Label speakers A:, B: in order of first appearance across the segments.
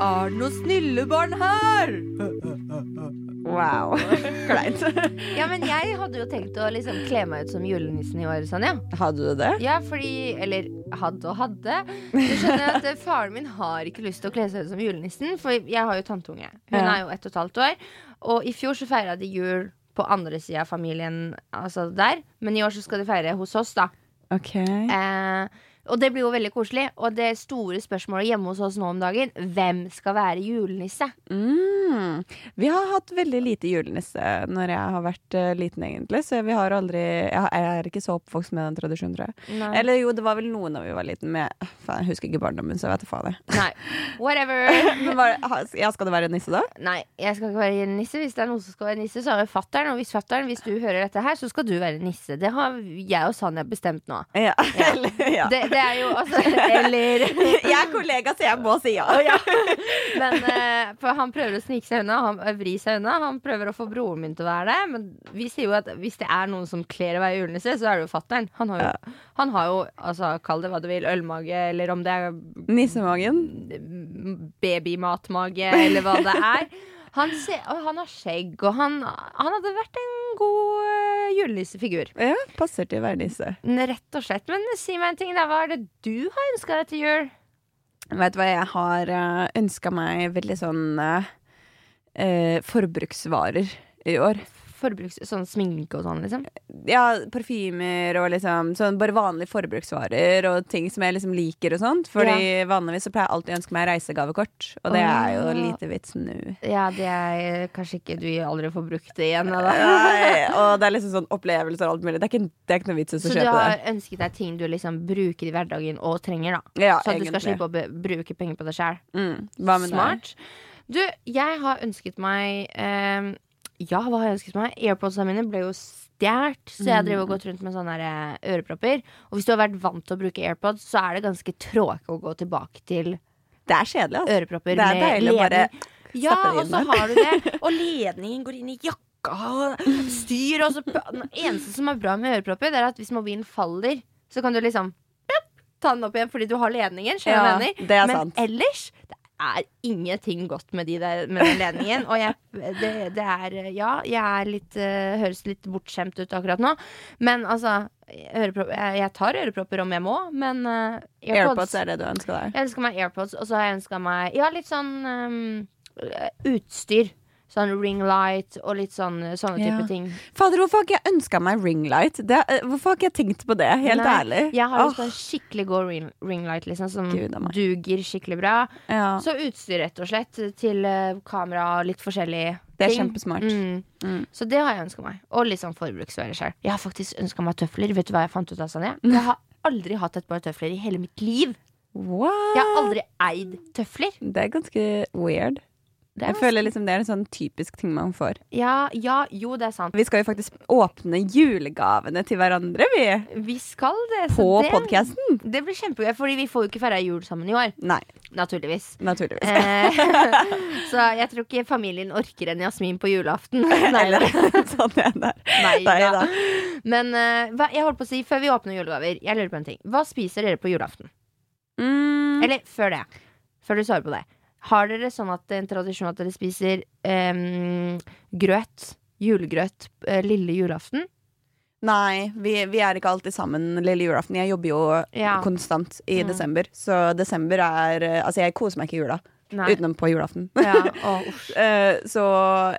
A: Er det noen snille barn her?
B: Wow. Kleint.
A: Ja, men jeg hadde jo tenkt å liksom kle meg ut som julenissen i år, Sanja.
B: Hadde du det?
A: Ja, fordi Eller hadde og hadde. Du skjønner at eh, Faren min har ikke lyst til å kle seg ut som julenissen, for jeg har jo tanteunge. Hun
B: Ja.
A: er jo ett og et halvt år. Og i fjor så feira de jul på andre sida av familien, altså der. Men i år så skal de feire hos oss, da.
B: Ok.
A: Eh, og det blir jo veldig koselig. Og det store spørsmålet hjemme hos oss nå om dagen, hvem skal være julenisse?
B: Mm. Vi har hatt veldig lite julenisse når jeg har vært eh, liten, egentlig. Så vi har aldri Jeg har- jeg er ikke så oppvokst med den tradisjonen, tror jeg.
A: Nei.
B: Eller jo, det var vel noe da vi var liten, men jeg- faen, jeg husker ikke barndommen, så jeg vet da faen. jeg.
A: Nei. Whatever.
B: Men var, ha- ja, skal det være nisse, da?
A: Nei, jeg skal ikke være nisse. Hvis det er noen som skal være nisse, så er det fattern. Og hvis fattern, hvis du hører dette her, så skal du være nisse. Det har jeg og Sanja bestemt nå.
B: Ja. Eller, ja.
A: Det, det er jo altså Eller
B: Jeg er kollega, så jeg må si ja.
A: Men eh, for han prøver å snike seg unna, han eh, vri seg unna. Han prøver å få broren min til å være det. Men vi sier jo at hvis det er noen som kler å være julenisse, så er det jo fattern. Han har jo, han har jo altså, kall det hva du vil, ølmage, eller om det er
B: Nissemagen?
A: babymatmage, eller hva det er. Han, ser, og han har skjegg, og han, han hadde vært en god øh, julenissefigur.
B: Ja, passer til å være nisse.
A: Rett og slett. Men si meg en ting, da. Hva er det du har ønska deg til jul?
B: Vet du hva, jeg har ønska meg veldig sånn eh, eh, forbruksvarer i år.
A: Forbruks... Sånn sminke og sånn, liksom?
B: Ja, parfymer og liksom sånn bare vanlige forbruksvarer og ting som jeg liksom liker og sånt. Fordi vanligvis så pleier jeg alltid å ønske meg reisegavekort, og det er jo
A: Åh.
B: lite vits nå.
A: Ja, det er eh, kanskje ikke du aldri får brukt det igjen. Da.
B: Nei, og det er liksom sånn opplevelser og alt mulig. Det er ikke, det er ikke noe vits i å
A: Så du
B: kjøpe
A: har
B: det.
A: ønsket deg ting du liksom bruker i hverdagen og trenger, da.
B: Ja,
A: så at du skal
B: egentlig.
A: slippe å be- bruke penger på deg sjæl.
B: Mm. Hva med deg?
A: Smart. Du, jeg har ønsket meg eh, Ja, hva har jeg ønsket meg? Airpodsene mine ble jo stjålet, så jeg driver
B: Mm.
A: og gått rundt med sånne her, eh, ørepropper. Og hvis du har vært vant til å bruke AirPods, så er det ganske tråkig å gå tilbake til
B: Det er kjedelig, altså.
A: ørepropper
B: Det er deilig å bare
A: Ja,
B: stappe det
A: og
B: inn
A: så
B: der.
A: har du det. Og ledningen går inn i jakka og styr. Og så, det eneste som er bra med ørepropper, det er at hvis mobilen faller, så kan du liksom plopp, ta den opp igjen fordi du har ledningen. Skjønner du hva jeg
B: Ja,
A: mener?
B: det er
A: Men
B: sant.
A: ellers det er ingenting godt med, de der, med den ledningen. Og jeg, det, det er Ja, jeg er litt, eh, høres litt bortskjemt ut akkurat nå, men altså ørepropp- jeg, jeg tar ørepropper om jeg må, men eh,
B: AirPods er det du ønsker deg.
A: jeg ønsker meg AirPods, og så har jeg ønska meg Ja, litt sånn ehm, øh, utstyr. Sånn ring light og litt sånn sånne
B: Ja.
A: type ting.
B: Fader, hvorfor har ikke jeg ønska meg ringlight? Det, eh, hvorfor har ikke jeg tenkt på det? Helt
A: Nei,
B: ærlig.
A: Jeg har lyst
B: Åh,
A: på en skikkelig god ring, ring light, liksom, som
B: Gud a meg.
A: duger skikkelig bra.
B: ja.
A: Så utstyr, rett og slett, til eh, kamera og litt forskjellige ting.
B: Det er kjempesmart.
A: Mm.
B: Mm.
A: Så det har jeg ønska meg. Og litt sånn forbruksvarer sjøl. Jeg har faktisk ønska meg tøfler. Vet du hva jeg fant ut av, Sanja?
B: Mm.
A: Jeg har aldri hatt et par tøfler i hele mitt liv.
B: What?
A: Jeg har aldri eid tøfler.
B: Det er ganske weird.
A: Det er
B: Jeg føler liksom det er en sånn typisk ting man får.
A: Ja, ja, jo, det er sant.
B: Vi skal jo faktisk åpne julegavene til hverandre, vi.
A: Vi skal det.
B: På
A: så det,
B: podkasten.
A: Det blir kjempegøy, Fordi vi får jo ikke feira jul sammen i år.
B: Nei,
A: Naturligvis.
B: naturligvis.
A: Eh, så jeg tror ikke familien orker en Jasmin på julaften.
B: Eller sånn er det.
A: Nei
B: Nei
A: da.
B: da.
A: Men eh, hva, jeg holdt på å si før vi åpner julegaver, jeg lurer på en ting. Hva spiser dere på julaften?
B: Mm,
A: Eller før det. Før du svarer på det. Har dere sånn at det er en tradisjon at dere spiser em, grøt? Julegrøt eh, lille julaften?
B: nei, vi, vi er ikke alltid sammen lille julaften. Jeg jobber jo
A: Ja.
B: konstant i
A: Mm.
B: desember, så desember er eh, Altså, jeg koser meg ikke i jula
A: Nei.
B: utenom på julaften.
A: Ja, å, uff.
B: Eh, så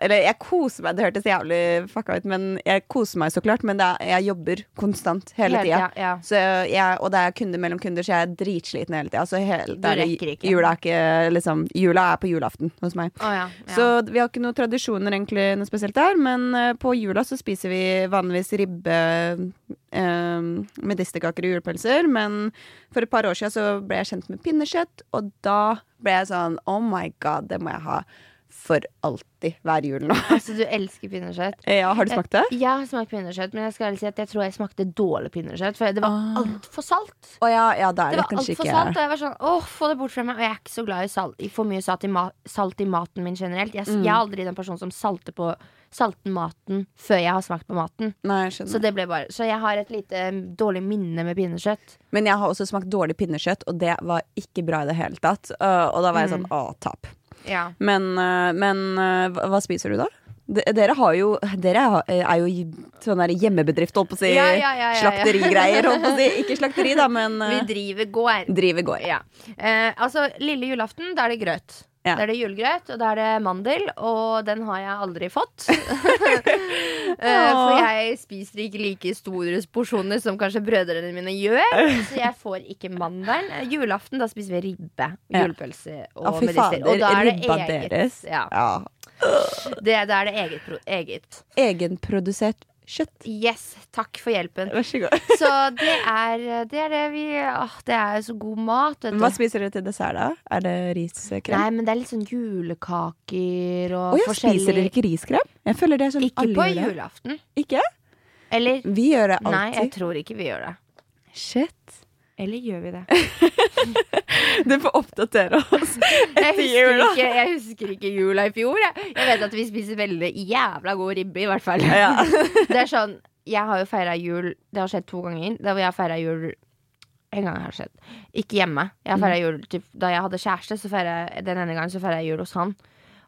B: Eller jeg koser meg, det hørtes jævlig fucka ut, men jeg koser meg så klart. Men det er, jeg jobber konstant hele tida.
A: tida, Ja.
B: Så jeg, og det er kunder mellom kunder, så jeg er dritsliten hele tida. Så hele,
A: Du
B: det er-
A: rekker ikke.
B: Jula er, ikke, liksom, jula er på julaften hos meg.
A: Å, ja, ja.
B: Så vi har ikke noen tradisjoner egentlig noe spesielt der, men eh, på jula så spiser vi vanligvis ribbe eh, medisterkaker og julepølser. Men for et par år siden så ble jeg kjent med pinnekjøtt, og da ble jeg sånn oh my god, det må jeg ha. for alltid hver jul nå.
A: Altså, du elsker pinnekjøtt.
B: Ja, har du smakt det?
A: Jeg har smakt pinnekjøtt, men jeg skal ærlig si at jeg tror jeg smakte dårlig pinnekjøtt. For det var
B: Ah.
A: altfor salt.
B: Å ja, ja, da
A: Det
B: er det,
A: var
B: kanskje
A: altfor
B: ikke
A: salt, og jeg var sånn åh, få det bort fra meg. Og jeg er ikke så glad i salt, i for mye salt i, ma salt i maten min generelt. Jeg, jeg er aldri den personen som salter på salter maten før jeg har smakt på maten.
B: Nei, jeg skjønner.
A: Så det ble bare Så jeg har et lite mm, dårlig minne med pinnekjøtt.
B: Men jeg har også smakt dårlig pinnekjøtt, og det var ikke bra i det hele tatt. Øh, og da var jeg sånn
A: Mm.
B: å, tap.
A: Ja.
B: Men, øh, men øh, hva- hva spiser du da? De, dere har jo Dere har- øh, er jo i sånn der hjemmebedrift, holdt på å si.
A: Ja, ja, ja, ja, ja.
B: Slakterigreier, holdt på å si. Ikke slakteri, da, men
A: Vi
B: øh,
A: driver gård.
B: driver gård.
A: Ja. Eh, altså, lille julaften, da er det grøt.
B: Ja.
A: Da er det julegrøt, og da er det mandel, og den har jeg aldri fått. Eh, for jeg spiser ikke like store porsjoner som kanskje brødrene mine gjør. Så jeg får ikke mandelen. Eh, Julaften, da spiser vi ribbe,
B: Ja.
A: julepølse
B: Å,
A: og
B: fy
A: medister.
B: fader.
A: Og da er det
B: Ribba
A: eget.
B: deres.
A: Ja,
B: Ja.
A: det, da er det eget, pro- eget.
B: Egenprodusert kjøtt.
A: Yes, takk for hjelpen.
B: Vær så god.
A: Så det er det, er det vi Åh, det er så god mat, vet du.
B: Hva spiser dere til dessert, da? Er det riskrem?
A: Nei, men det er litt sånn julekaker og
B: Å ja,
A: forskjellig
B: spiser dere ikke riskrem? Jeg føler det er sånn
A: Ikke på
B: gjør det.
A: julaften.
B: Ikke?
A: Eller
B: Vi gjør det alltid.
A: Nei, jeg tror ikke vi gjør det.
B: Shit.
A: Eller gjør vi det?
B: Du får oppdatere oss
A: Jeg
B: etter
A: husker
B: jul.
A: ikke, jeg husker ikke jula i fjor. Jeg. jeg vet at vi spiser veldig jævla god ribbe, i hvert fall.
B: Ja.
A: Det er sånn, Jeg har jo feira jul Det har skjedd to ganger. Da hvor jeg har feira jul En gang har det skjedd. Ikke hjemme. Jeg har feiret jul typ, Da jeg hadde kjæreste, så feira jeg den ene gangen så feira jeg jul hos han.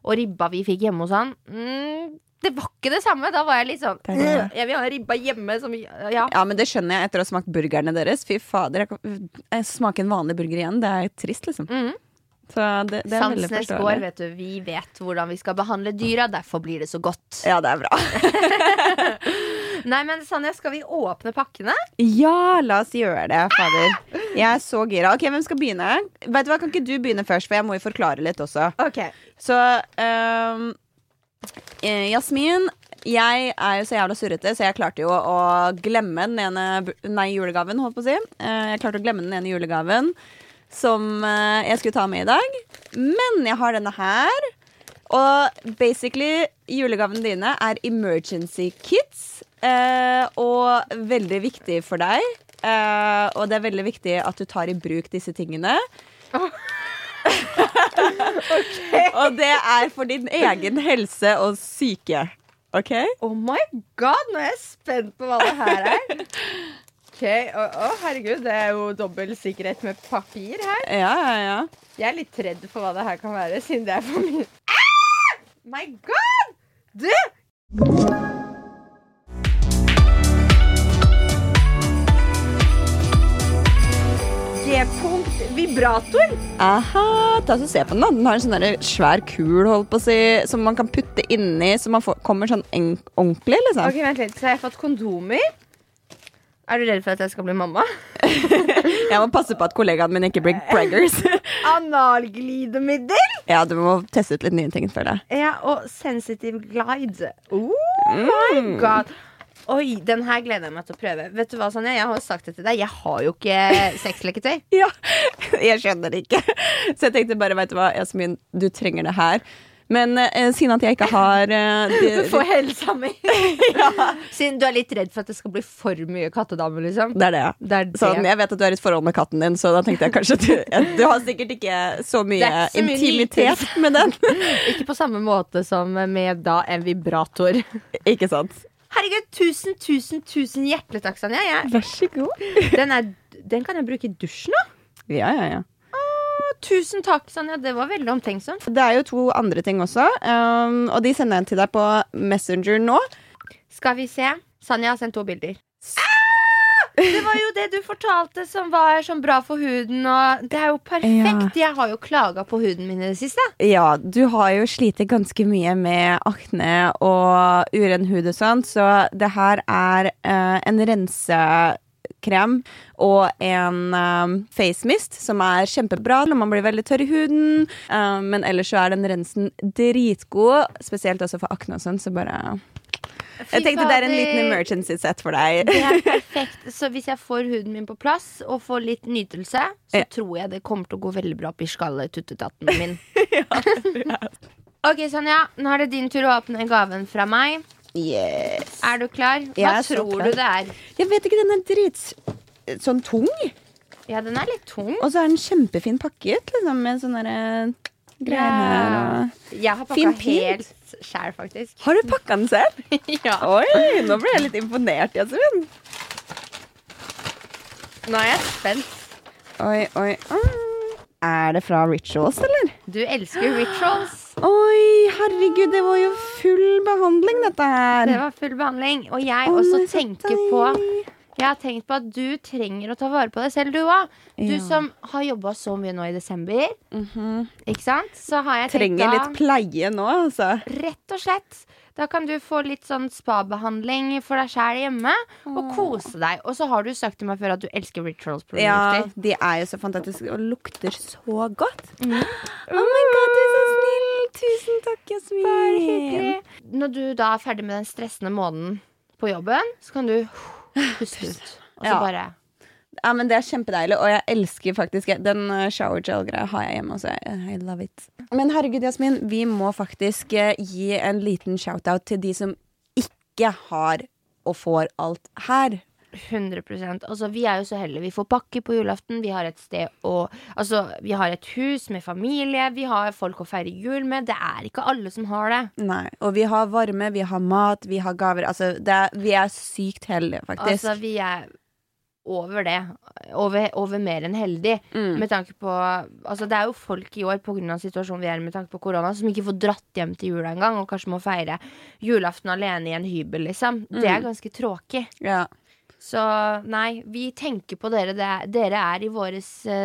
A: Og ribba vi fikk hjemme hos han mm, Det var ikke det samme. Da var jeg litt sånn
B: Det er det.
A: «Øh, Jeg vil ha ribba hjemme. Som, øh, ja.
B: Ja, men det skjønner jeg etter å ha smakt burgerne deres. Fy fader, jeg, kan- jeg smaker en vanlig burger igjen. Det er trist, liksom.
A: Mhm.
B: Så det, det er veldig
A: Sansenes gård,
B: forståelig.
A: vet du. Vi vet hvordan vi skal behandle dyra. Derfor blir det så godt.
B: Ja, det er bra.
A: Nei, men Sanja, skal vi åpne pakkene?
B: Ja, la oss gjøre det, fader. Jeg er så gira. Ok, Hvem skal begynne? Vet du hva, Kan ikke du begynne først, for jeg må jo forklare litt også.
A: Ok
B: Så ehm, eh, Jasmin, jeg er jo så jævla surrete, så jeg klarte jo å glemme den ene bu- Nei, julegaven, holdt på å si. Eh, jeg klarte å glemme den ene julegaven som eh, jeg skulle ta med i dag. Men jeg har denne her. Og basically, julegavene dine er emergency kits. eh, og veldig viktig for deg. Eh, og det er veldig viktig at du tar i bruk disse tingene. Og det er for din egen helse og syke. OK?
A: Oh my god, nå er jeg spent på hva det her er. Ok, Å, å, herregud, det er jo dobbel sikkerhet med papir her.
B: Ja, ja, ja.
A: Jeg er litt redd for hva det her kan være, siden det er for mye. Ah! My god! Du! G-punkt vibrator.
B: Aha, ta så se på den da Den har en sånn der svær kul holdt på å si Som man kan putte inni Så man får, kommer sånn en- ordentlig liksom
A: Ok, vent litt, Så har jeg fått kondomer. Er du redd for at jeg skal bli mamma?
B: Jeg må passe på at kollegaen min ikke blir preggers
A: Analglidemiddel.
B: Ja, du må teste ut litt nye ting føler jeg
A: Ja, og sensitive glide. Oh
B: Mm.
A: my god. Oi, den her gleder jeg meg til å prøve. Vet du hva, Sonja, Jeg har jo sagt det til deg, jeg har jo ikke sexleketøy.
B: Ja, jeg skjønner det ikke Så jeg tenkte bare, vet du hva, Jasmin, du trenger det her Men eh, siden at jeg ikke har eh, det,
A: For helsa mi. Siden du er litt redd for at det skal bli for mye kattedame, liksom.
B: det er det, ja
A: Det er det.
B: Sånn, jeg vet at du er i et forhold med katten din Så da tenkte jeg kanskje at du, at du har sikkert ikke så mye,
A: Det er ikke så mye
B: intimitet med den
A: Ikke på samme måte som med da en vibrator.
B: Ikke sant?
A: Herregud, tusen, tusen, tusen hjertelig takk, Sanja. Jeg,
B: Vær så god
A: den, er, den kan jeg bruke i dusjen òg.
B: Ja, ja, ja
A: Tusen takk, Sanja. Det var veldig omtenksomt.
B: Det er jo to andre ting også, um, og de sender jeg til deg på Messenger nå.
A: Skal vi se. Sanja har sendt to bilder. Ah! Det var jo det du fortalte som var sånn bra for huden. Og det er jo perfekt. Jeg har jo klaga på huden min i det siste.
B: Ja, du har jo slitt ganske mye med akne og uren hud og sånt, så det her er eh, en rensekrem og en um, face mist, som er kjempebra når man blir veldig tørr i huden. Eh, men ellers så er den rensen dritgod, spesielt også for akne og sånn, så bare Jeg tenkte det er en liten
A: emergency
B: emergency set for deg.
A: Det er perfekt. Så hvis jeg får huden min på plass og får litt nytelse, så
B: Ja.
A: tror jeg det kommer til å gå veldig bra opp i skalletuttetatten min. Ok, Sonja, nå er det din tur å åpne gaven fra meg.
B: Yes.
A: Er du klar?
B: Jeg
A: Hva
B: er så
A: tror
B: klar.
A: du det er?
B: Jeg vet ikke, den er drits... Sånn tung.
A: Ja, den er litt tung.
B: Og så er den kjempefin pakket, liksom, med sånne der, eh, greier her og
A: Jeg har pakka
B: Fin pynt.
A: helt sjæl, faktisk.
B: Har du pakka den selv?
A: ja.
B: Oi, nå ble jeg litt imponert, Jasmin.
A: Nå er jeg spent.
B: Oi, oi, oi. Er det fra Rituals, eller?
A: Du elsker rituals.
B: Oi, herregud, det var jo full behandling, dette her.
A: Det var full behandling. Og
B: Å,
A: jeg også
B: nei, så
A: tenker på Jeg har tenkt på at du trenger å ta vare på deg selv, du òg. Du
B: Ja. Mhm.
A: som har jobba så mye nå i desember. Ikke sant? Så har jeg tenkt
B: Trenger
A: da
B: litt pleie nå, altså.
A: Rett og slett. Da kan du få litt sånn spabehandling for deg sjæl hjemme. Og kose deg. Og så har du sagt til meg før at du elsker
B: Ja,
A: rituals-produkter.
B: de er jo så fantastiske og lukter så godt.
A: Mm.
B: Oh my god, du er så snill. Tusen takk, Jasmin.
A: Ah. Hyggelig. Når du da er ferdig med den stressende måneden på jobben, så kan du puste ut. Og så
B: Ja.
A: bare
B: Ja, men Det er kjempedeilig, og jeg elsker faktisk Den eh, shower gel-greia har jeg hjemme også. I love it. Men herregud, Jasmin, vi må faktisk eh, gi en liten shout-out til de som ikke har og får alt her.
A: 100 Altså, Vi er jo så heldige. Vi får pakke på julaften. Vi har et sted å Altså, vi har et hus med familie. Vi har folk å feire jul med. Det er ikke alle som har det.
B: Nei. Og vi har varme, vi har mat, vi har gaver. Altså, det er, vi er sykt heldige, faktisk.
A: Altså, vi er over det. Over, over mer enn heldig. Med tanke på Altså, det er jo folk i år, pga. situasjonen vi er i med tanke på korona, som ikke får dratt hjem til jula engang, og kanskje må feire julaften alene i en hybel, liksom. Det er ganske tråkig.
B: ja.
A: Så nei, vi tenker på dere. Det er, dere er i våre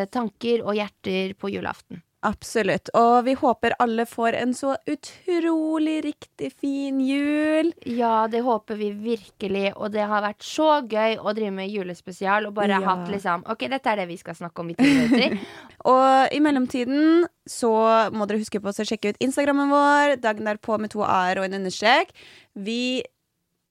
A: tanker og hjerter på julaften.
B: Absolutt. Og vi håper alle får en så utrolig riktig fin jul.
A: Ja, det håper vi virkelig, og det har vært så gøy å drive med julespesial og bare
B: Ja.
A: hatt liksom Ok, dette er det vi skal snakke om i ti minutter.
B: Og i mellomtiden så må dere huske på å sjekke ut Instagrammen vår, dagen derpå med to a-er og en understrek. Vi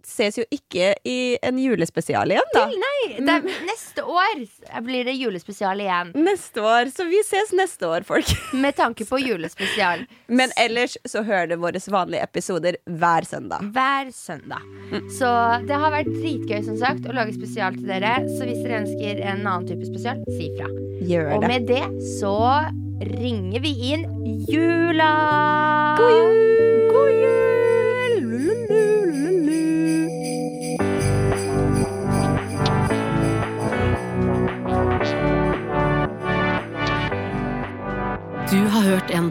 B: ses jo ikke i en julespesial igjen, da.
A: Nei, det er, neste år blir det julespesial igjen.
B: Neste år. Så vi ses neste år, folk.
A: Med tanke på julespesial
B: Men ellers så hører du våre vanlige episoder hver søndag.
A: hver søndag. Så det har vært dritgøy, som sagt, å lage spesial til dere. Så hvis dere ønsker en annen type spesial, si fra.
B: Gjør
A: Og
B: det.
A: med det så ringer vi inn jula!
B: God jul! Lululululu.
C: Du har hørt en